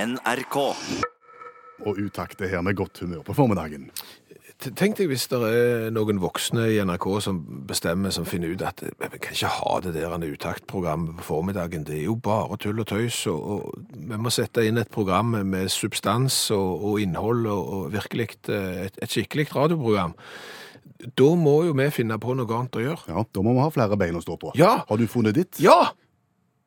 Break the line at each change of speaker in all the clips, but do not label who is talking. NRK.
Og utakt er her med godt humør på formiddagen.
T- Tenk deg hvis det er noen voksne i NRK som bestemmer, som finner ut at eh, vi kan ikke ha det der utaktprogrammet på formiddagen. Det er jo bare tull og tøys. Og, og vi må sette inn et program med substans og, og innhold og, og virkelig eh, et, et skikkelig radioprogram. Da må jo vi finne på noe annet å gjøre.
Ja, Da må vi ha flere bein å stå på.
Ja!
Har du funnet ditt?
Ja!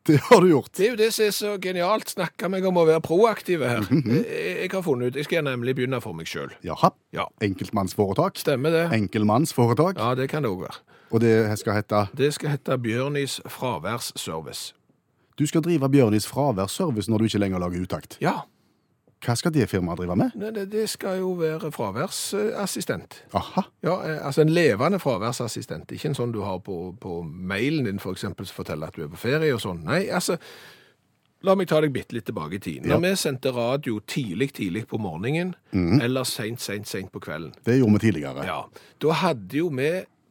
Det har du gjort.
Det er jo det som er så genialt. Snakka meg om å være proaktiv her. Jeg, jeg har funnet ut Jeg skal nemlig begynne for meg sjøl.
Jaha.
Ja.
Enkeltmannsforetak.
Stemmer det?
Enkelmannsforetak.
Ja, det kan det òg være.
Og det skal hete
Det skal hete Bjørnis fraværsservice.
Du skal drive Bjørnis fraværsservice når du ikke lenger lager utakt.
Ja.
Hva skal det firmaet drive med?
Nei, det, det skal jo være fraværsassistent.
Aha.
Ja, eh, altså en levende fraværsassistent. Ikke en sånn du har på, på mailen din, for eksempel, som forteller at du er på ferie og sånn. Nei, altså, la meg ta deg bitte litt tilbake i tid. Når vi sendte radio tidlig, tidlig på morgenen, eller sent, sent, sent på kvelden,
Det gjorde vi tidligere.
ja, da hadde jo vi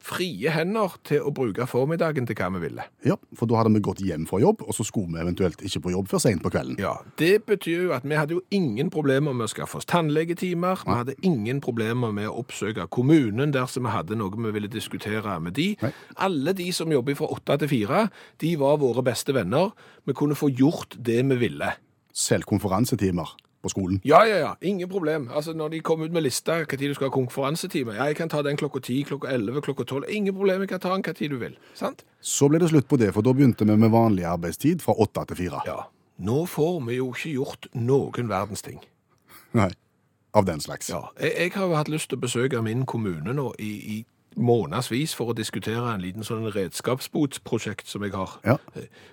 frie hender til å bruke formiddagen til hva vi ville.
Ja, For da hadde vi gått hjem fra jobb, og så skulle vi eventuelt ikke på jobb før seint på kvelden.
Ja, Det betyr jo at vi hadde jo ingen problemer med å skaffe oss tannlegetimer. Vi hadde ingen problemer med å oppsøke kommunen dersom vi hadde noe vi ville diskutere med de.
Nei.
Alle de som jobber fra åtte til fire, de var våre beste venner. Vi kunne få gjort det vi ville.
Selv konferansetimer på skolen.
Ja, ja, ja. Ingen problem. Altså, Når de kom ut med lista hva tid du skal ha konferansetime Ja, jeg kan ta den klokka ti, klokka elleve, klokka tolv. Ingen problem, jeg kan ta den hva tid du vil. Sant?
Så ble det slutt på det, for da begynte vi med vanlig arbeidstid fra åtte til fire.
Ja. Nå får vi jo ikke gjort noen verdens ting.
Nei. Av den slags.
Ja, jeg, jeg har jo hatt lyst til å besøke min kommune nå i, i månedsvis for å diskutere en liten sånn redskapsbotsprosjekt som jeg har.
Ja.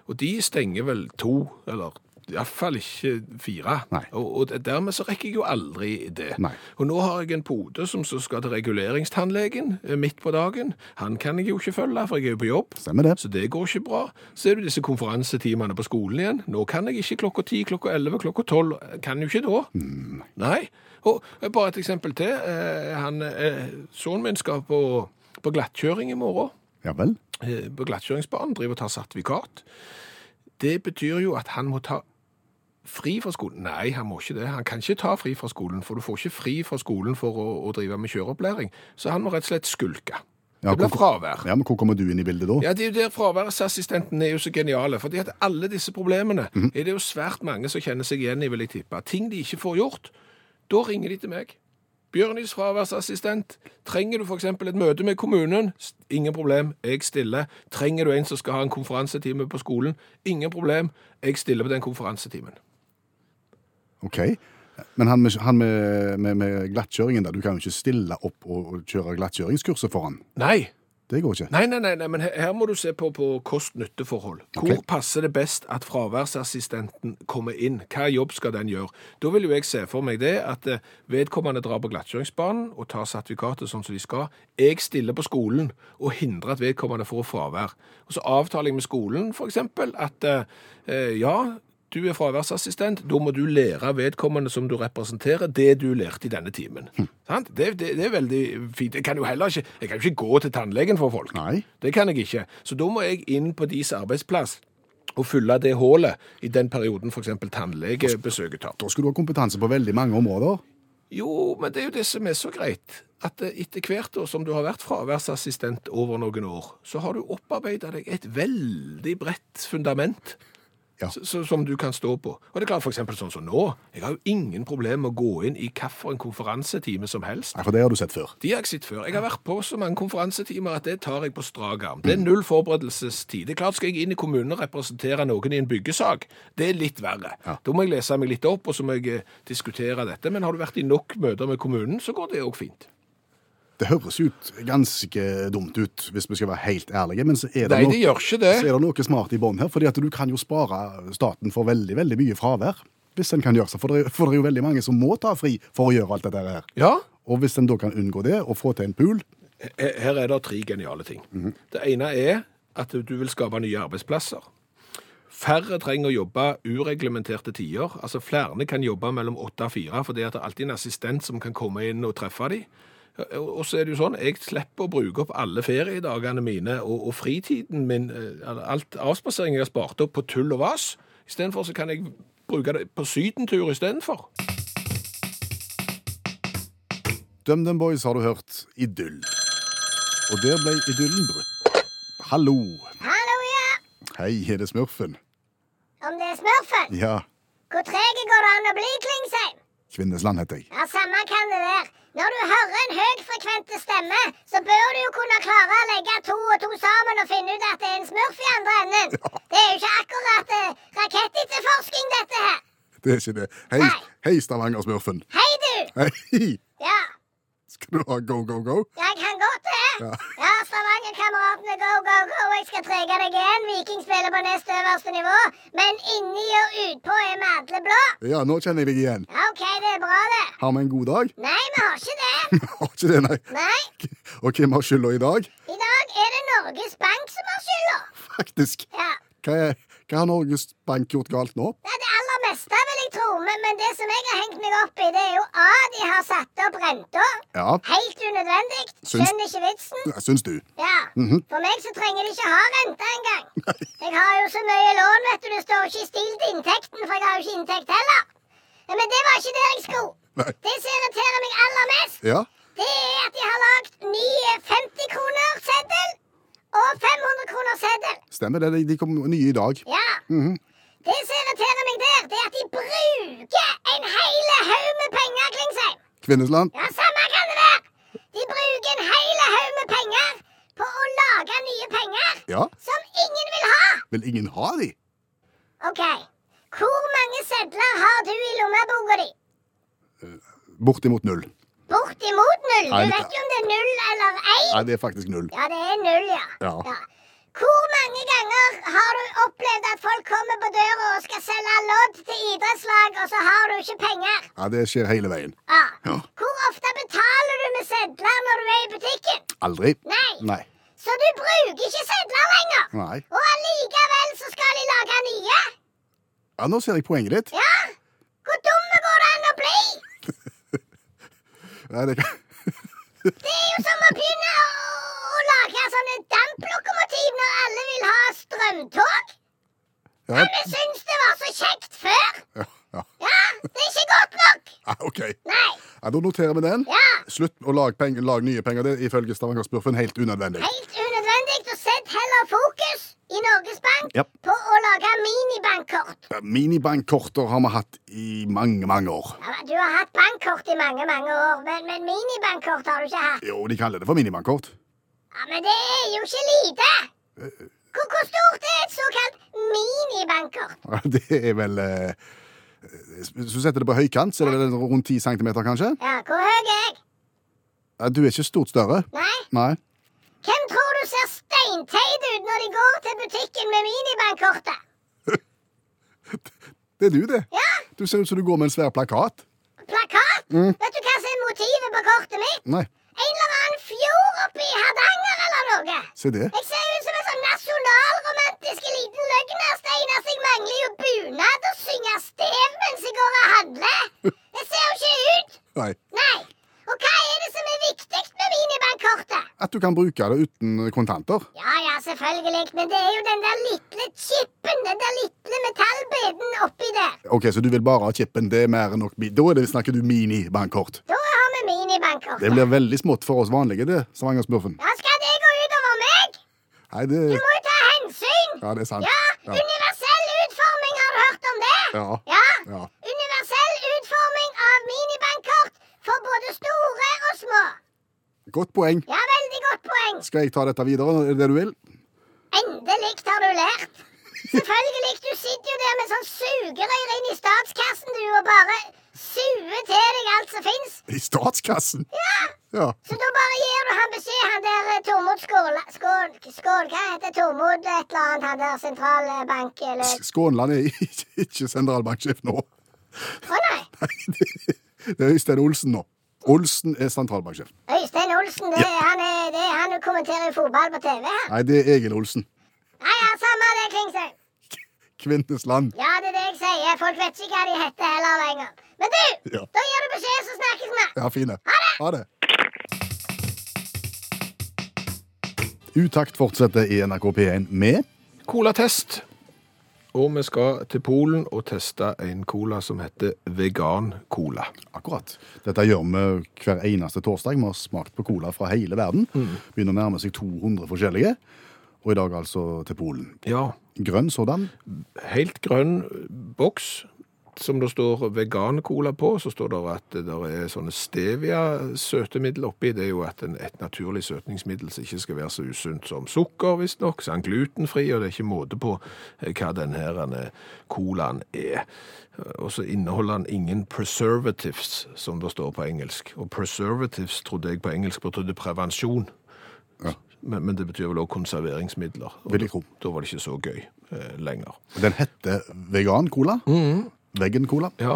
Og de stenger vel to, eller iallfall ikke fire.
Nei.
Og, og dermed så rekker jeg jo aldri det.
Nei.
Og nå har jeg en pode som så skal til reguleringstannlegen eh, midt på dagen. Han kan jeg jo ikke følge, for jeg er jo på jobb.
Stemmer det.
Så det går ikke bra. Så er det disse konferansetimene på skolen igjen. Nå kan jeg ikke klokka ti, klokka elleve, klokka tolv. Kan jo ikke da. Nei. Og eh, bare et eksempel til. Eh, Han, eh, Sønnen min skal på, på glattkjøring i morgen.
Ja vel.
Eh, På glattkjøringsbanen driver og tar sertifikat. Det betyr jo at han må ta fri fra skolen. Nei, han må ikke det. Han kan ikke ta fri fra skolen, for du får ikke fri fra skolen for å, å drive med kjøreopplæring. Så han må rett og slett skulke.
Ja,
Det blir
hvor-
fravær.
Ja, men Hvor kommer du inn i bildet da?
Ja, det er jo der fraværsassistenten er jo så geniale, fordi at alle disse problemene er det jo svært mange som kjenner seg igjen i, vil jeg tippe. Ting de ikke får gjort, da ringer de til meg. Bjørnis fraværsassistent, trenger du for eksempel et møte med kommunen? S- Ingen problem, jeg stiller. Trenger du en som skal ha en konferansetime på skolen? Ingen problem, jeg stiller på den konferansetimen.
Ok. Men han, med, han med, med, med glattkjøringen der, du kan jo ikke stille opp og og kjøre glattkjøringskurset for han.
Nei,
Det går ikke.
Nei, nei, nei, nei men her, her må du se på, på kost-nytte-forhold. Hvor
Ok.
passer det best at fraværsassistenten kommer inn? Hva jobb skal den gjøre? Da vil jo jeg se for meg det at eh, vedkommende drar på glattkjøringsbanen og tar sertifikatet sånn som de skal. Jeg stiller på skolen og hindrer at vedkommende får fravær. Og så avtaler jeg med skolen for eksempel at eh, eh, ja, du er fraværsassistent, da må du lære vedkommende som du representerer, det du lærte i denne timen.
Hm.
Sant? Det, det, det er veldig fint. Jeg kan jo heller ikke, jeg kan jo ikke gå til tannlegen for folk.
Nei.
Det kan jeg ikke. Så da må jeg inn på deres arbeidsplass og fylle det hullet i den perioden f.eks. tannlegebesøket tar.
Da skulle du ha kompetanse på veldig mange områder.
Jo, men det er jo det som er så greit, at eh, etter hvert år som du har vært fraværsassistent over noen år, så har du opparbeida deg et veldig bredt fundament.
Ja.
s- s- Som du kan stå på. Og det er klart, for eksempel sånn som nå. Jeg har jo ingen problemer med å gå inn i hvilken konferansetime som helst.
Nei, For det har du sett før.
De har jeg sett før. Jeg har vært på så mange konferansetimer at det tar jeg på strak arm. Det er null forberedelsestid. Det er klart skal jeg inn i kommunen og representere noen i en byggesak. Det er litt verre. Da må jeg lese meg litt opp, og så må jeg eh, diskutere dette. Men har du vært i nok møter med kommunen, så går det òg fint.
Det høres jo ut ganske dumt ut, hvis vi skal være helt ærlige, men så er det,
Nei,
no-
det gjør ikke det.
så er det noe smart i bånn her. fordi at du kan jo spare staten for veldig veldig mye fravær. Hvis en kan gjøre seg, for det, er- for det er jo veldig mange som må ta fri for å gjøre alt dette her.
Ja,
Og hvis en da kan unngå det, og få til en pool
Her her er det tre geniale ting. Det ene er at du vil skape nye arbeidsplasser. Færre trenger å jobbe ureglementerte tider. Altså Flere kan jobbe mellom åtte og fire, for det er alltid en assistent som kan komme inn og treffe dem. Og og så er det jo sånn, Jeg slipper å bruke opp alle feriedagene mine og, og fritiden min, eh, alt avspaseringen jeg har spart opp, på tull og vas. Istedenfor så kan jeg bruke det på sydentur istedenfor.
DumDum Boys har du hørt Idyll. Og der ble idyllen brutt. Hallo.
Hallo, ja.
Hei, er det Smurfen?
Om det er smurfen?
Ja,
Hvor treg går det an å bli, Klingsheim?
Kvinnesland heter jeg.
Ja, samme kan det være. Når du hører en høyfrekvente stemme, så bør du jo kunne klare å legge to og to sammen og finne ut at det er en smurf i andre enden. Det er jo ikke akkurat eh, rakettetterforsking, dette her.
Det er ikke det. Hei,
Nei.
hei Stavanger-Smurfen.
Hei, du.
Hei!
Ja,
Skal du ha go, go, go?
jeg kan godt det.
Ja.
Ja, Stavanger-kameratene, go, go, go. Jeg skal trege deg igjen. Viking spiller på nest øverste nivå, men inni og utpå er vi alle blå.
Ja, nå kjenner jeg deg igjen.
Ja, OK, det er bra, det.
Har vi en god dag?
Nei, vi har ikke det.
Har ikke det, nei.
Nei.
Og hvem har skylda i dag?
I dag er det Norges Bank som har skylda.
Faktisk.
Ja.
Hva, er, hva har Norges Bank gjort galt nå?
Det er det aller meste, vil jeg tro. Men, men det som jeg har hengt meg opp i, det er jo A. De har satt opp renta.
Ja,
Helt unødvendig.
Syns-
Skjønner ikke vitsen.
det syns du.
Ja. For meg så trenger de ikke ha renta engang. Jeg har jo så mye lån, vet du. Det står ikke i stil til inntekten, for jeg har jo ikke inntekt heller. Ja, Men det var ikke der jeg skulle.
Nei.
Det som irriterer meg aller mest,
Ja,
det er at de har lagd ny 50-kronerseddel og 500-kronerseddel.
stemmer det. De- De kom nye i dag. Mhm.
Ja. Det som irriterer meg der, det er at de bruker en hel haug med penger, Klingsheim.
Kvinnesland?
Ja, samme kan det være. De bruker en hel haug med penger på å lage nye penger
Ja.
som ingen vil ha.
Vil ingen ha de?
OK. Hvor mange sedler har du i lommeboka di?
Bortimot null.
Bortimot null.
Nei,
Du vet jo om det er null eller én.
Nei, det er faktisk null.
Ja, det er null, ja.
Ja.
Hvor mange ganger har du opplevd at folk kommer på døra og skal selge lodd til idrettslag, og så har du ikke penger?
Ja, Det skjer hele veien.
Ja.
Ja.
Hvor ofte betaler du med sedler når du er i butikken?
Aldri?
Nei.
Nei.
Så du bruker ikke sedler lenger.
Nei.
Og allikevel så skal de lage nye?
Ja, Nå ser jeg poenget ditt.
Ja. Hvor dumme går det an å bli?
Ja, det kan...
Det er jo som å begynne å, å lage sånne damplokomotiv når alle vil ha strømtog.
ja.
Vi syns det var så kjekt før.
Ja, ja.
Ja, det er ikke godt nok.
ja OK.
Nei.
Ja, da noterer vi den.
Ja.
Slutt å lage, penger, lage nye penger. Det er ifølge Stavanger-Smurfen helt unødvendig.
Helt unødvendig. Og sett heller fokus i Norges Bank
Ja.
på å lage minibankkort.
Ja, Minibankkorter har vi hatt i mange, mange år.
Ja, men Du har hatt bankkort i mange mange år, men, men minibankkort har du ikke hatt.
Jo, de kaller det for minibankkort.
Ja, Men det er jo ikke lite! Hvor, hvor stort er et såkalt minibankkort?
Ja, Det er vel eh, Hvis du setter det på høykant, så er det vel rundt 10 cm, kanskje?
Ja, Hvor høy er jeg?
Ja, Du er ikke stort større.
Nei?
Nei.
Hvem tror du ser steinteit ut når de går til butikken med minibankkortet?
Det er du, det.
Ja,
Du ser ut som du går med en svær plakat.
plakat! Vet du hva som er motivet på kortet mitt?
Nei,
En eller annen fjord oppe i Hardanger eller noe.
se det.
Jeg ser ut som en sånn nasjonalromantisk liten løgner, Steinar. så Jeg mangler jo bunad og synger stev mens jeg går og handler. Det ser jo ikke ut.
Nei.
Nei. Og hva er det som er viktig med minibankkortet?
At du kan bruke det uten kontanter.
Ja ja, selvfølgelig, men det er jo den der lille chipen, den der lille metallbiten oppi der.
OK, så du vil bare ha chipen. Det er mer enn nok. mi- Da er det, snakker du minibankkort.
Da har vi minibankkort.
Det blir veldig smått for oss vanlige, det, Stavanger-smurfen.
Ja, skal det gå utover meg?
Nei, det
Du må jo ta hensyn.
Ja, det er sant.
Ja,
Ja.
universell utforming, har du hørt om det?
Ja.
Ja.
Ja.
Universell utforming av minibankkort for både store og små.
Godt poeng.
Ja, veldig godt poeng.
Skal jeg ta dette videre? Er det det du vil?
Endelig har du lært. Selvfølgelig. Du sitter jo der med sånn sugerør inn i statskassen, du, og bare suger til deg alt som fins.
I statskassen?
Ja.
Ja.
Så da bare gir du han beskjed, han der eh, Tormod Skål... Skål... Skål hva heter Tormod et eller annet, han der sentralbankløp?
S- Skånland er ikke, ikke sentralbanksjef nå.
Å nei.
Nei, det, det er Øystein Olsen nå. Olsen er sentralbanksjef.
Øystein Olsen, det, er han, er, det er han du kommenterer jo fotball på TV her.
Nei, det er Egil Olsen.
Nei, ja, samme det, Klingsøy.
Kvinnes land.
Ja, det er det jeg sier. Folk vet ikke hva de heter heller lenger. Men du,
Ja.
da gir du beskjed, så snakkes vi.
Ja, fine. Ha det. Utakt fortsetter i NRK P1 med
Cola Test. og vi skal til Polen og teste en cola som heter vegan-cola.
Akkurat. Dette gjør vi hver eneste torsdag. Vi har smakt på cola fra hele verden. Begynner å nærme seg 200 forskjellige. Og i dag altså til Polen.
Ja,
Grønn sådan.
helt grønn boks som det står vegan-cola på, så står det at det er sånne stevia-søtemiddel oppi. Det er jo at en, et naturlig søtningsmiddel som ikke skal være så usunt som sukker, visstnok. Så er den glutenfri, og det er ikke måte på eh, hva den her eh, colaen er. Og så inneholder den ingen preservatives, som det står på engelsk. Og preservatives trodde jeg på engelsk betydde prevensjon. Men, men det betyr vel også konserveringsmidler. Og
Vil jeg tro.
Da var det ikke så gøy eh, lenger.
Den heter vegan-cola. Veggen-cola.
Ja,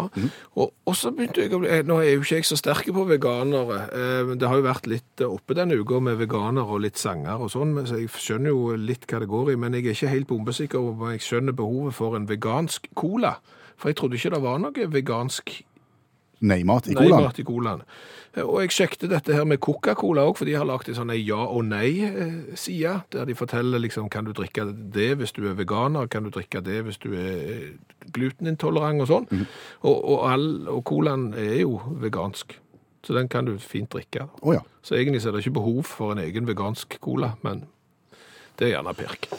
og, og så begynte jeg å bli eh, Nå er jo ikke jeg så sterk på veganere. eh, men Det har jo vært litt eh, oppe denne uka med veganere og litt sanger og sånn, men så jeg skjønner jo litt hva det går i. Men jeg er ikke helt bombesikker på om jeg skjønner behovet for en vegansk cola. For jeg trodde ikke det var noe vegansk
Nei-mat i
nei
colaen.
mat i colaen. Eh, Og jeg sjekket dette her med Coca-Cola òg, for de har lagd en sånn en ja og nei-side, der de forteller liksom kan du drikke det hvis du er veganer, kan du drikke det hvis du er eh, glutenintolerant og sånn.
Mhm.
Og, og, all, og colaen er jo vegansk, så den kan du fint drikke.
Å ja.
Så egentlig så er det ikke behov for en egen vegansk cola, men det er gjerne pirk.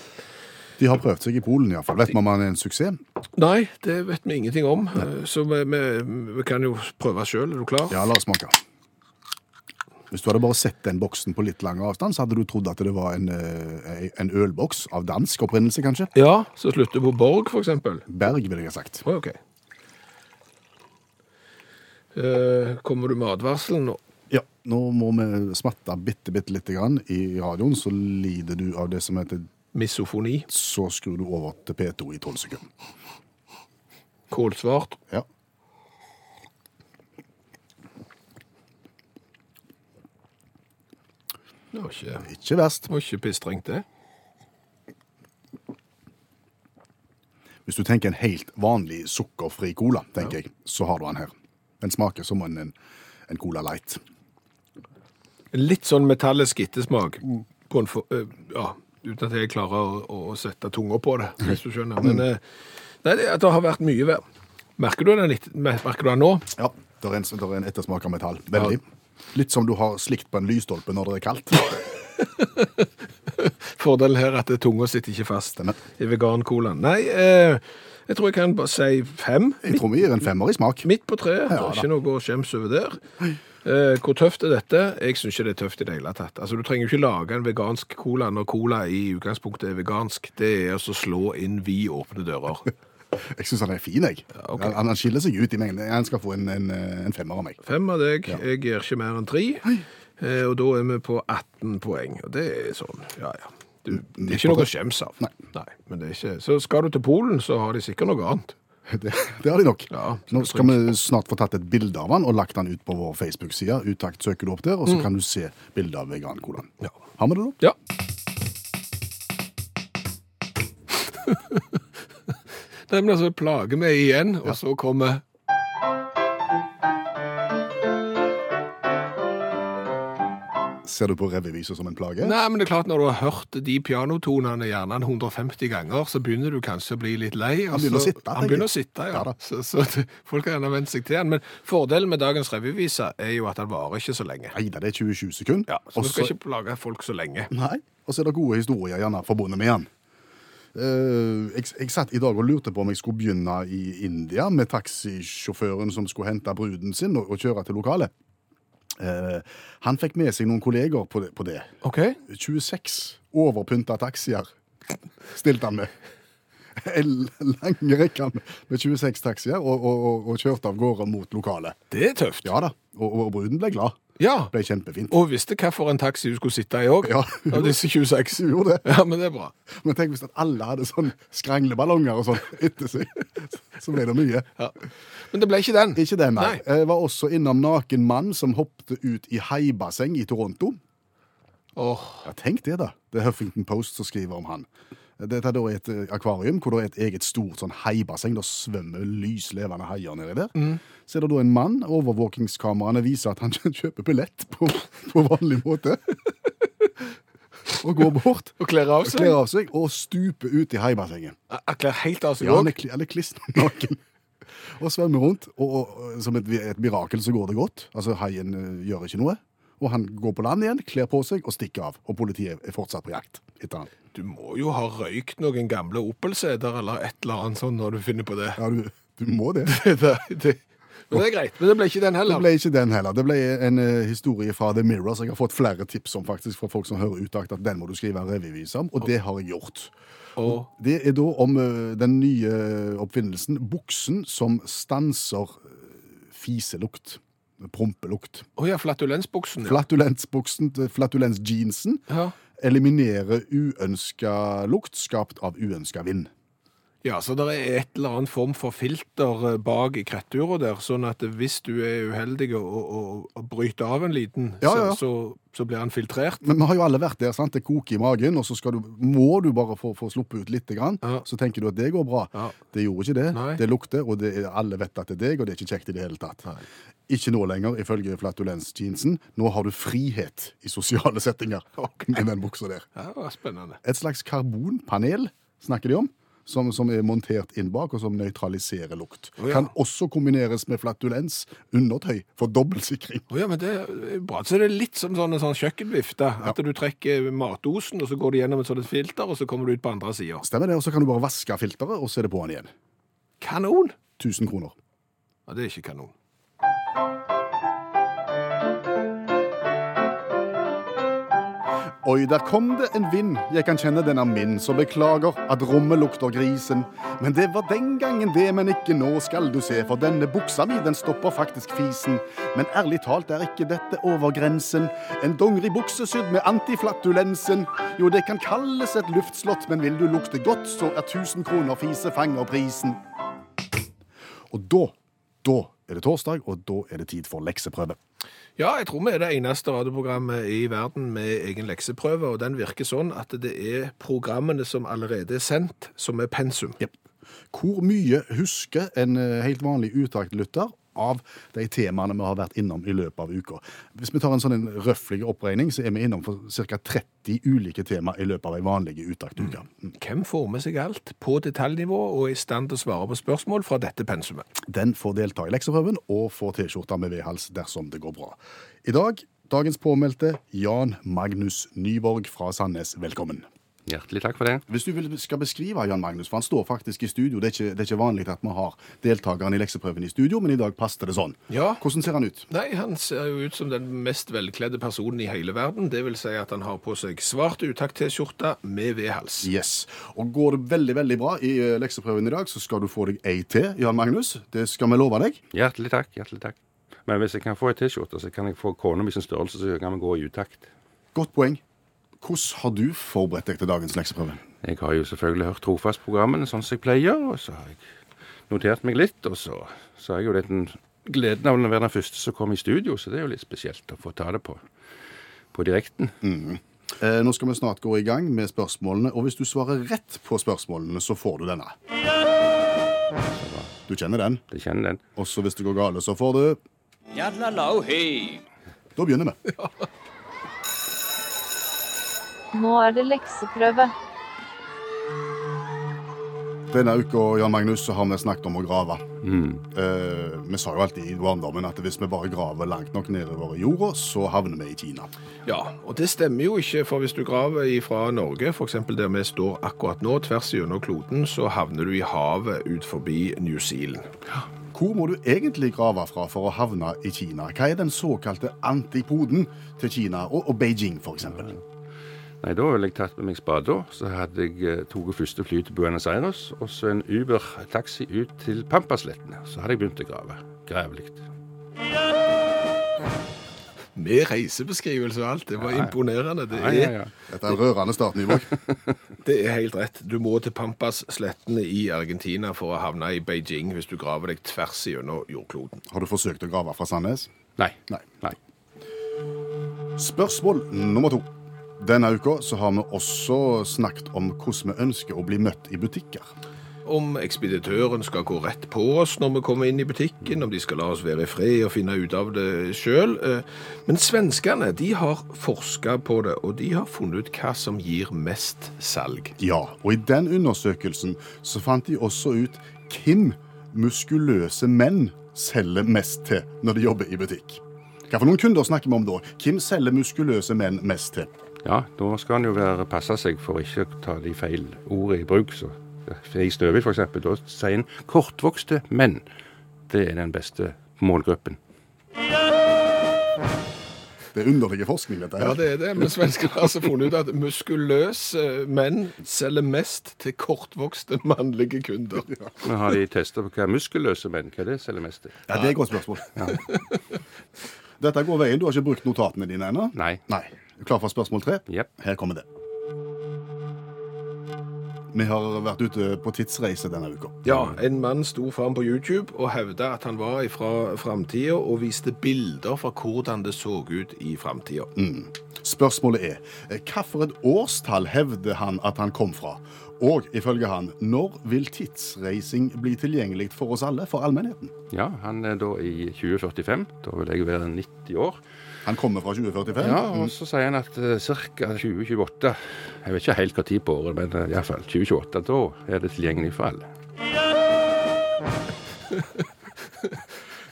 De har prøvd seg i Polen iallfall. Vet man om man er en suksess?
Nei, det vet vi ingenting om, eh, så vi, vi, vi kan jo prøve sjøl. Er du klar?
Ja, la oss smake. Hvis du hadde bare sett den boksen på litt lang avstand, så hadde du trodd at det var en, eh, en ølboks av dansk opprinnelse, kanskje.
Ja, så slutter på Borg, for eksempel.
Berg, ville jeg ha sagt.
Å, ok. Eh, kommer du med advarselen nå?
Ja, nå må vi smatte bitte, bitte lite grann i radioen, så lider du av det som heter
Misofoni,
Så skrur du over til P2 i 12 sekunder.
kålsvart.
Ja.
Det var ikke,
Ikke verst.
det var ikke pissstrengt, det.
Hvis du tenker en helt vanlig sukkerfri cola, tenker jeg, så har du den her. Den smaker som en, en- en Cola Light.
Litt sånn metallisk ettersmak. På en for, eh, ja, uten at jeg klarer å, å sette tunga på det, hvis du skjønner. Men eh, nei, det, det har vært mye verre. Merker du den, litt, merker du den nå?
Ja, det er en, der er en ettersmak av metall. Veldig. Litt som du har slikt på en lysstolpe når det er kaldt.
Fordelen her er at tunga sitter ikke fast
Stemmer.
i vegan-colaen. Nei, eh, jeg tror jeg kan bare si fem.
Jeg tror vi gir en femmer i smak.
Midt på treet. det er ikke noe å skjemmes over der. Eh, hvor tøft er dette? Jeg syns ikke det er tøft i det hele tatt. Altså, Du trenger jo ikke lage en vegansk cola når cola i utgangspunktet er vegansk. Det er altså å slå inn vid åpne dører.
Jeg syns han er fin, jeg.
ok.
han, han skiller seg ut i mengden. Han skal få en, en, en femmer av meg.
Fem av deg. Jeg gir ikke mer enn tre. Eh, og da er vi på 18 poeng. Og det er sånn, ja ja.
Mm,
Du, det er ikke noe å skjemmes av.
Nei.
men det er ikke. Så skal du til Polen, så har de sikkert noe annet.
Det, det har de nok.
Ja,
Nå skal vi snart få tatt et bilde av han og lagt han ut på vår Facebook-side. Utakt søker du opp der, og så kan du se bildet av vegan-colaen.
Mm. Ja.
Har vi det nå?
Ja. Nei, men altså, plager vi igjen, og så kommer
Ser du på revyvisa som en plage?
Nei, men det er klart når du har hørt de pianotonene gjerne en 150 ganger, så begynner du kanskje å bli litt lei. og
Han begynner
så-
å sitte,
Han
tenker
begynner å
jeg.
sitte, ja.
Ja da.
så, så det- folk har gjerne vent seg til han. Men fordelen med dagens revyvise er jo at den varer ikke så lenge.
Nei da, det er 27 sekunder.
Ja, så
og,
du skal
så,
ikke plage folk så lenge.
nei, og så er det gode historier gjerne forbundet med han. Eh, jeg, jeg satt i dag og lurte på om jeg skulle begynne i India med taxisjåføren som skulle hente bruden sin og, og kjøre til lokalet. Eh, han fikk med seg noen kolleger på det. På det.
Ok.
26 overpynta taxier stilte han med. En lang rekke med- med 26 taxier, og, og, og, og kjørte av gårde mot lokalet.
Det er tøft.
Ja da, og, og bruden ble glad.
Ja,
Ble kjempefint.
og visste hva for en taxi du skulle sitte i òg,
Ja.
av disse 26.
Hun gjorde det.
Ja, men det er bra.
Men tenk hvis at alle hadde sånn skrangleballonger og sånn etter seg. Så ble det mye.
Ja. Men det ble ikke den.
Ikke det, nei.
Nei.
Jeg var også innom naken mann som hoppte ut i haibasseng i Toronto.
Åh,
Ja, tenk det, da. Det er Huffington Post som skriver om han. Dette er da et eh, akvarium hvor det er et eget stort sånn haibasseng. Da svømmer lyslevende haier nedi der.
Mm.
Så er det da en mann. Overvåkingskameraene viser at han kjøper billett på, på vanlig måte. og går bort,
Og kler av seg.
kler av seg og stuper ut i haibassenget.
Jeg kler helt av seg
Ja, han
òg.
er, kli- han er klissende naken. Og svømmer rundt, og, og som et, vi- et mirakel så går det godt. Altså, Haien eh, gjør ikke noe. Og han går på land igjen, kler på seg og stikker av. Og politiet er fortsatt på jakt etter han.
Du må jo ha røykt noen gamle Opel-seter eller et eller annet sånt når du finner på det.
Ja, du, du må det.
det, det. Men det er greit. Men det ble ikke den
Det
heller.
ble ikke den heller. Det ble en eh, historie fra The Mirror som jeg har fått flere tips om faktisk fra folk som hører utakt, at den må du skrive en revyvise om, og det har jeg gjort.
Og
Det er da om eh, den nye oppfinnelsen, buksen som stanser eh, fiselukt, prompelukt.
Å ja, flatulensbuksen. ja.
Flatulensbuksen, til flatulensjeansen,
Ja.
eliminerer uønska lukt skapt av uønska vind.
ja, så det er et eller annet form for filter eh, bak i krettura der, sånn at hvis du er uheldig og, og, og bryter av en liten,
Ja, ja, ja.
Så, så, så blir han filtrert.
Men vi har jo alle vært der, sant? Det koker i magen, og så skal du, må du bare få, få sluppet ut litt. Grann.
Ja.
Så tenker du at det går bra.
Ja.
Det gjorde ikke det.
Nei.
Det lukter, og det er, alle vet at det er deg, og det er ikke kjekt i det hele tatt. Ikke nå lenger, ifølge flatulensjeansen. Nå har du frihet i sosiale settinger med den buksa der.
Ja, det var spennende.
Et slags karbonpanel snakker de om. Som, som er montert inn bak, og som nøytraliserer lukt.
Å, ja.
Kan også kombineres med flatulens, undertøy, for dobbeltsikring.
Å ja, men det er bra. Så det er litt som sånn, en sånn kjøkkenvifte. At du trekker matdosen, og så går du gjennom et sånt filter, og så kommer du ut på andre sida.
Stemmer det, og så kan du bare vaske filteret, og så er det på'n igjen.
Kanon!
1000 kroner.
Ja, det er ikke kanon.
Oi, der kom det en vind, jeg kan kjenne den er min, så beklager at rommet lukter grisen. Men det var den gangen det, men ikke nå skal du se, for denne buksa mi, den stopper faktisk fisen. Men ærlig talt er ikke dette over grensen. En dongeribukse sydd med antiflatulensen. Jo, det kan kalles et luftslott, men vil du lukte godt, så er 1000 kroner fise fanger prisen. Og da, da er det torsdag, og da er det tid for lekseprøve.
Ja, jeg tror vi er det eneste radioprogrammet i verden med egen lekseprøve, og den virker sånn at det er programmene som allerede er sendt, som er pensum.
Hvor mye husker en eh, helt vanlig utaktlytter av de temaene vi har vært innom i løpet av uka? Hvis vi tar en sånn en røfflig oppregning, så er vi innom for ca. 30 ulike tema i løpet av ei vanlig utaktuke.
Hvem får med seg alt på detaljnivå og er i stand til å svare på spørsmål fra dette pensumet?
Den får delta i lekseprøven og får T-skjorta med V-hals dersom det går bra. I dag, dagens påmeldte Jan Magnus Nyborg fra Sandnes, velkommen.
Hjertelig takk for det.
Hvis du vil, skal beskrive Jan Magnus, for han står faktisk i studio, det er ikke, det er ikke vanlig at vi har deltakeren i lekseprøven i studio, men i dag passer det sånn.
Ja.
Hvordan ser han ut?
Nei, han ser jo ut som den mest velkledde personen i hele verden. Det vil si at han har på seg svart utakt-T-skjorte med V-hals.
Yes. Og går det veldig veldig bra i eh, lekseprøven i dag, så skal du få deg ei til, Jan Magnus. Det skal vi love deg.
Hjertelig takk, hjertelig takk. Men hvis jeg kan få ei T-skjorte, så kan jeg få kona mi sin størrelse, så kan vi gå i utakt.
Godt poeng. Hvordan har du forberedt deg til dagens lekseprøve?
Jeg har jo selvfølgelig hørt Trofast-programmene sånn som jeg pleier, og så har jeg notert meg litt, og så så har jeg jo litt den gleden av å være den første som kom i studio, så det er jo litt spesielt å få ta det på, på direkten.
Eh, nå skal vi snart gå i gang med spørsmålene, og hvis du svarer rett på spørsmålene, så får du denne. Du kjenner den.
Jeg kjenner den.
Også hvis det går gale, så får du
Yadlalau hey.
Da begynner vi.
Nå er det lekseprøve.
Denne uka Jan Magnus, så har vi snakket om å grave. Eh, vi sa jo alltid i barndommen at hvis vi bare graver langt nok nedover i jorda, så havner vi i Kina.
Ja, og det stemmer jo ikke, for hvis du graver fra Norge, f.eks. der vi står akkurat nå, tvers gjennom kloden, så havner du i havet ut forbi New Zealand.
Hvor må du egentlig grave fra for å havne i Kina? Hva er den såkalte antipoden til Kina og, og Beijing, f.eks.?
Nei, da ville jeg tatt med meg spada, så hadde jeg eh, tatt første fly til Buenos Aires, og så en Uber-taxi ut til Pampaslettene. Så hadde jeg begynt å grave. Gravelikt.
Med reisebeskrivelse og alt. Det var imponerende. Det
Ja, ja,
er,
ja.
Dette er en rørende start, Nyborg.
det er helt rett. Du må til Pampas-slettene i Argentina for å havne i Beijing hvis du graver deg tvers gjennom jordkloden.
Har du forsøkt å grave fra Sandnes?
Nei.
Nei.
Nei.
Spørsmål nummer to. Denne uka så har vi også snakket om hvordan vi ønsker å bli møtt i butikker.
Om ekspeditøren skal gå rett på oss når vi kommer inn i butikken, om de skal la oss være i fred og finne ut av det sjøl. Eh, Men svenskene de har forska på det, og de har funnet ut hva som gir mest salg.
Ja, og i den undersøkelsen så fant de også ut hvem muskuløse menn selger mest til når de jobber i butikk. Hva for noen kunder snakker vi om da? Hvem selger muskuløse menn mest til?
Ja, da skal en jo være, passe seg for ikke å ta de feil ordene i bruk. Så, I Snøhvit f.eks. da sier en 'kortvokste menn'. Det er den beste målgruppen.
Det er underlig forskning, dette
Ja,
her.
det er det, men svenskene har altså funnet ut at muskuløse menn selger mest til kortvokste mannlige kunder.
Men har de testa på hva muskelløse menn hva det selger mest til?
Ja, det er et godt spørsmål. Dette går veien. Du har ikke brukt notatene dine ennå?
Nei.
Nei. Er du Klar for spørsmål tre?
Jepp.
Her kommer det. Vi har vært ute på tidsreise denne uka.
Ja, en mann sto fram på YouTube og hevda at han var fra framtida, og viste bilder fra hvordan det så ut i framtida.
Spørsmålet er eh, hvilket årstall hevder han at han kom fra? Og ifølge han, når vil tidsreising bli tilgjengelig for oss alle, for allmennheten?
Ja, han er da i 2045. Da vil jeg være 90 år.
Han kommer fra 2045.
Ja, og så sier han at ca. 2028 Jeg vet ikke helt hva tid på året, men eh, i hvert fall 2028. Da er det tilgjengelig for alle.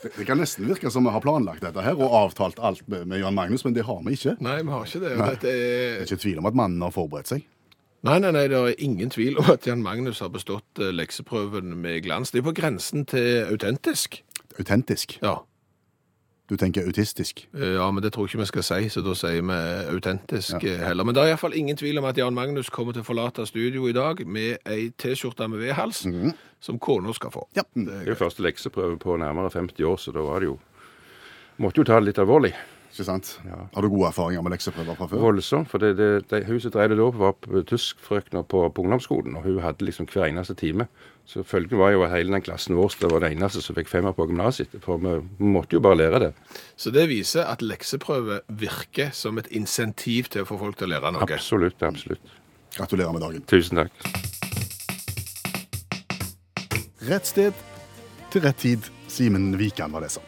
Det, det kan nesten virke som vi har planlagt dette her og avtalt alt med, med Jan Magnus, men det har vi ikke.
Nei, vi har ikke det. og Dette
Det er
er...
ikke tvil om at mannen har forberedt seg.
Nei, nei, nei, det er ingen tvil om at Jan Magnus har bestått eh, lekseprøven med glans. Det er på grensen til autentisk.
Autentisk.
Ja.
Du tenker autistisk.
Eh, Ja, men det tror jeg ikke vi skal si, så da sier vi autentisk eh, heller. Men det er iallfall ingen tvil om at Jan Magnus kommer til å forlate studio i dag med ei T-skjorte med V-hals, som kona skal få.
Ja.
Det er jo første lekseprøve på nærmere 50 år, så da var det jo Måtte jo ta det litt alvorlig.
Ikke sant? Har du gode erfaringer med lekseprøver fra før?
Voldsomt. For det, det, det, hun som drev det da, var p- tyskfrøkna på, på ungdomsskolen, og hun hadde liksom hver eneste time. Så følgen var jo at hele den klassen vår det var den eneste som fikk femmer på gymnaset. For vi måtte jo bare lære det.
Så det viser at lekseprøve virker som et insentiv til å få folk til å lære noe.
Absolutt, absolutt.
Gratulerer med dagen.
Tusen takk.
Rett sted til rett tid. Simen Vikan var det som.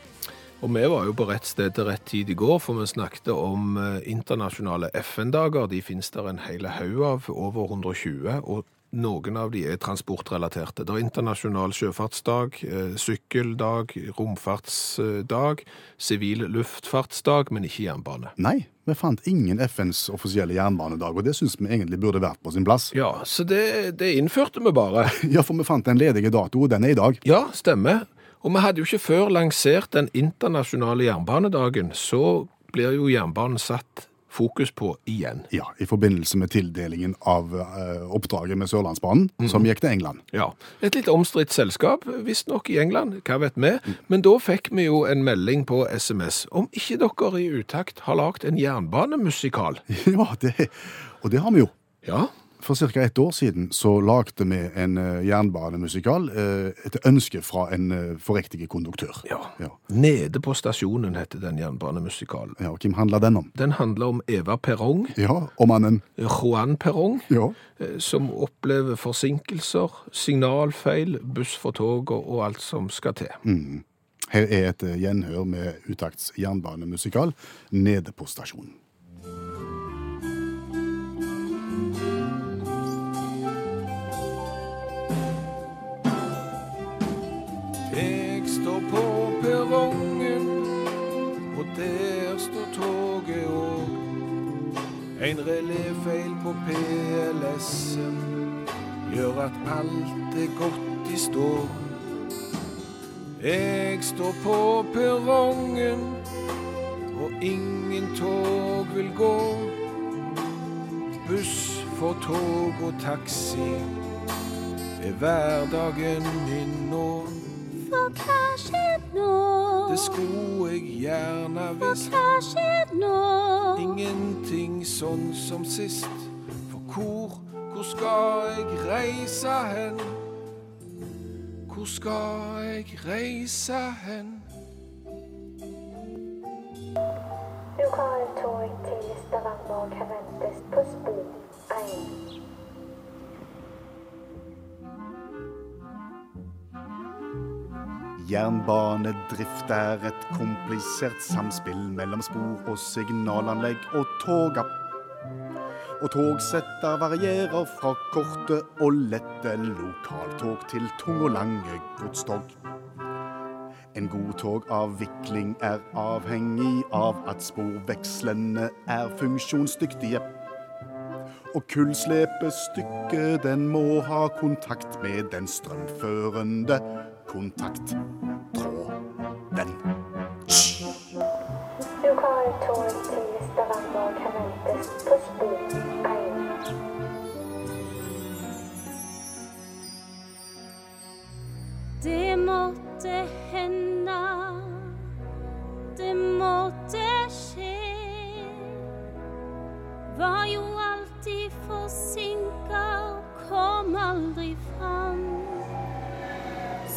Og vi var jo på rett sted til rett tid i går, for vi snakket om eh, internasjonale FN-dager. De finnes der en hel haug av, over 120. og noen av de er transportrelaterte. Det er internasjonal sjøfartsdag, eh, sykkeldag, romfartsdag, sivil luftfartsdag, men ikke jernbane.
Nei, vi fant ingen FNs offisielle jernbanedag, og det syns vi egentlig burde vært på sin plass.
Ja, så det, det innførte vi bare.
Ja, for vi fant den ledige dato, og den er i dag.
Ja, stemmer. Og vi hadde jo ikke før lansert den internasjonale jernbanedagen, så blir jo jernbanen satt fokus på igjen.
Ja, I forbindelse med tildelingen av eh, oppdraget med Sørlandsbanen, som gikk til England.
Ja, Et litt omstridt selskap, visstnok i England, hva vet vi. Men da fikk vi jo en melding på SMS om ikke dere i utakt har lagd en jernbanemusikal.
ja, det, Og det har vi jo.
Ja,
For ca. ett år siden så lagde vi en eh, jernbanemusikal eh, etter ønske fra en eh, forriktig konduktør.
Ja.
ja.
Nede på stasjonen heter den jernbanemusikalen.
Ja, og Hvem handler den om?
Den handler om Eva Perrong,
Ja, om mannen
Juan Perrong,
Ja.
eh, som opplever forsinkelser, signalfeil, buss for tog og- og alt som skal til.
Her er et eh, gjenhør med utakts jernbanemusikal nede på stasjonen.
Jeg står på perrongen, og der står toget òg. En reléfeil på PLS-en gjør at alt er gått i stå. Jeg står på perrongen, og ingen tog vil gå. Buss for tog og taxi er hverdagen min nå.
For hva skjer nå?
Det skulle jeg gjerne visst.
Hva skjer nå?
Ingenting sånn som sist. For hvor, hvor skal jeg reise hen? Hvor skal jeg reise hen?
Lokaltog til Stavanger kan ventes på spor 1.
Jernbanedrift er et komplisert samspill mellom spor og signalanlegg og toga. Og togsetter varierer fra korte og lette lokaltog til tunge og lange godstog. En god togavvikling er avhengig av at sporvekslene er funksjonsdyktige. Og kullslepestykket den må ha kontakt med den strømførende kontakttråden.
Lokaltog til Stavanger kan ventes på spor 1.
Det måtte hende. Det måtte skje. Var jo alltid forsinka og kom aldri fram.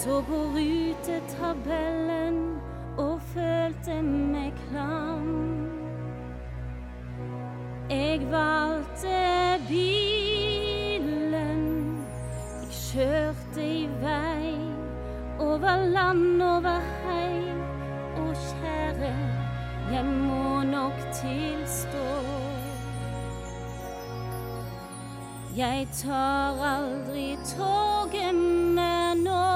Så på rutetabellen og følte meg klam. Jeg valgte bilen. Jeg kjørte i vei over land, over hei. Og kjære, jeg må nok tilstå. Jeg tar aldri toget mer nå.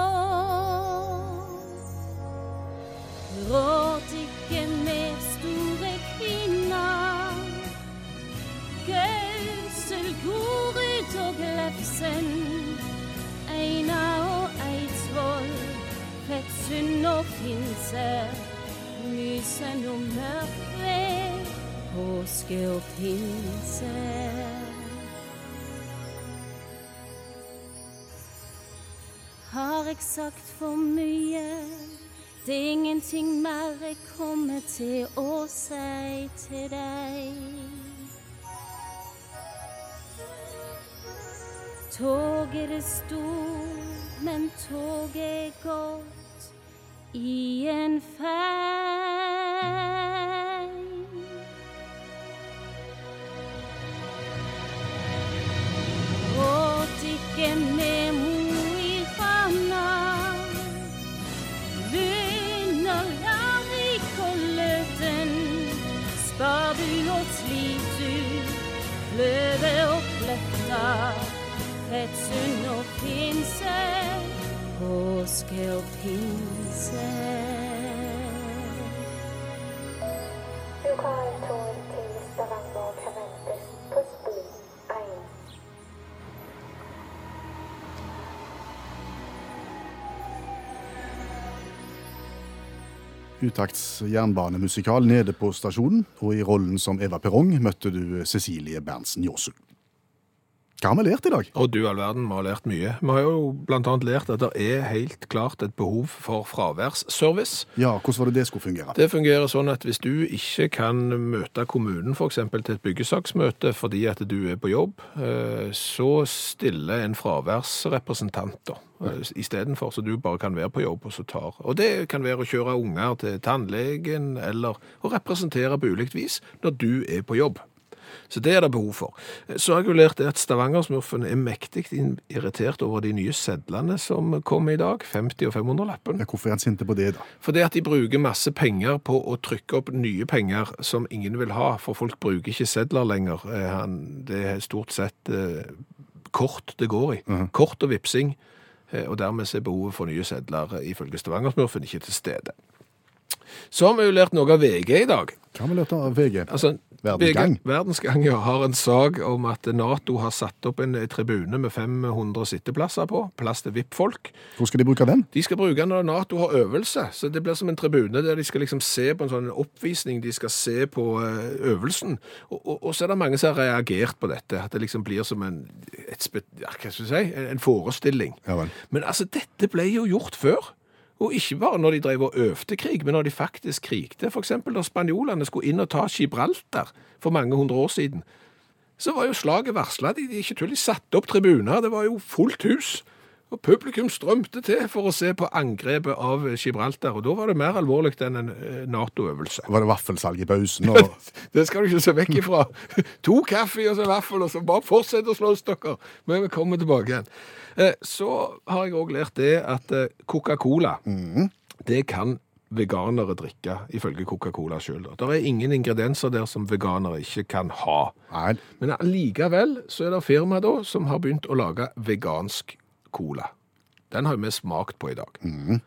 Råd ikke mer store kvinner. Gausel, Gorud og Glefsen, Einar og Eidsvoll, Fettsund og Finse, Mysen og Mørkved, påske og pinse. Har jeg sagt for mye? Det er ingenting mer jeg kommer til å si til deg. Toget er stort, men toget er godt i en fei. Gråt ikke med Mo i Rana. Lund og Larvik og Løten. Sparbu og Slitu. Kløve og Kløfta. Fettsund og pinse, påske og pinse.
Lokaltog til Stavanger kan ventes på spor 1.
Utakts jernbanemusikal nede på stasjonen, og i rollen som Eva Perrong møtte du Cecilie Berntsen Jåsund. Hva har vi lært i dag?
Og du all verden, vi har lært mye. Vi har jo blant annet lært at det er helt klart et behov for fraværsservice.
Ja, hvordan var det det skulle fungere?
Det fungerer sånn at hvis du ikke kan møte kommunen for eksempel til et byggesaksmøte fordi at du er på jobb, eh, så stiller en fraværsrepresentant da, eh, istedenfor, så du bare kan være på jobb og så tar. Og det kan være å kjøre unger til tannlegen eller å representere på ulikt vis når du er på jobb. Så det er det behov for. Eh, Så har jeg jo lært det at Stavangersmurfen er mektig irritert over de nye sedlene som kommer i dag, 50- og 500-lappen.
Ja, Hvorfor er han sinte på det, da?
For det at de bruker masse penger på å trykke opp nye penger som ingen vil ha, for folk bruker ikke sedler lenger. Eh, han- Det er stort sett eh, kort det går i. Kort og vipsing. Eh, Og dermed så er behovet for nye sedler eh, ifølge Stavangersmurfen ikke til stede. Så har vi jo lært noe av VG i dag.
Hva har vi lært av VG?
Altså,
Verdensgang.
VG Verdensgang ja, har en sak om at Nato har satt opp en eh, tribune med 500 sitteplasser på, plass til VIP-folk.
Hvor skal de bruke den?
De skal bruke den når Nato har øvelse, så det blir som en tribune der de skal liksom se på en sånn oppvisning, de skal se på eh, øvelsen. Og, og, og så er det mange som har reagert på dette, at det liksom blir som en, et, spe- ja, hva skal jeg si, en- en forestilling.
Ja vel.
Men altså, dette ble jo gjort før. Og ikke bare når de drev og øvde krig, men når de faktisk krigte. For eksempel når spanjolene skulle inn og ta Gibraltar for mange hundre år siden, så var jo slaget varsla. De, de ikke tull, de satte opp tribuner. Det var jo fullt hus. Og publikum strømte til for å se på angrepet av Gibraltar. Og da var det mer alvorlig enn en eh, Nato-øvelse.
Var det vaffelsalg i pausen? Og...
Det skal du ikke se vekk ifra. To kaffe og så en vaffel, og så bare fortsett å slåss, dere. Men vi kommer tilbake igjen. Eh, Så har jeg òg lært det at eh, Coca-Cola Det kan veganere drikke, ifølge Coca-Cola sjøl. Det er ingen ingredienser der som veganere ikke kan ha.
Nei,
Men allikevel så er det firma da som har begynt å lage vegansk cola. Den har jo vi smakt på i dag.
Mm.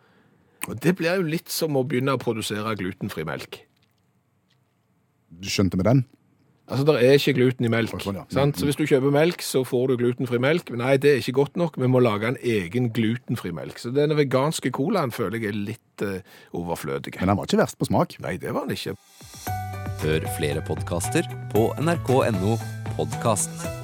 Og det blir jo litt som å begynne å produsere glutenfri melk.
skjønte vi den?
Altså, det er ikke gluten i melk.
Sånn, ja.
Sant? Så hvis du kjøper melk, så får du glutenfri melk. Men Nei, det er ikke godt nok. Vi må lage en egen glutenfri melk. Så denne veganske colaen føler jeg er litt eh, overflødig.
Men den var ikke verst på smak.
Nei, det var den ikke.
Hør flere podkaster på nrk.no podkast.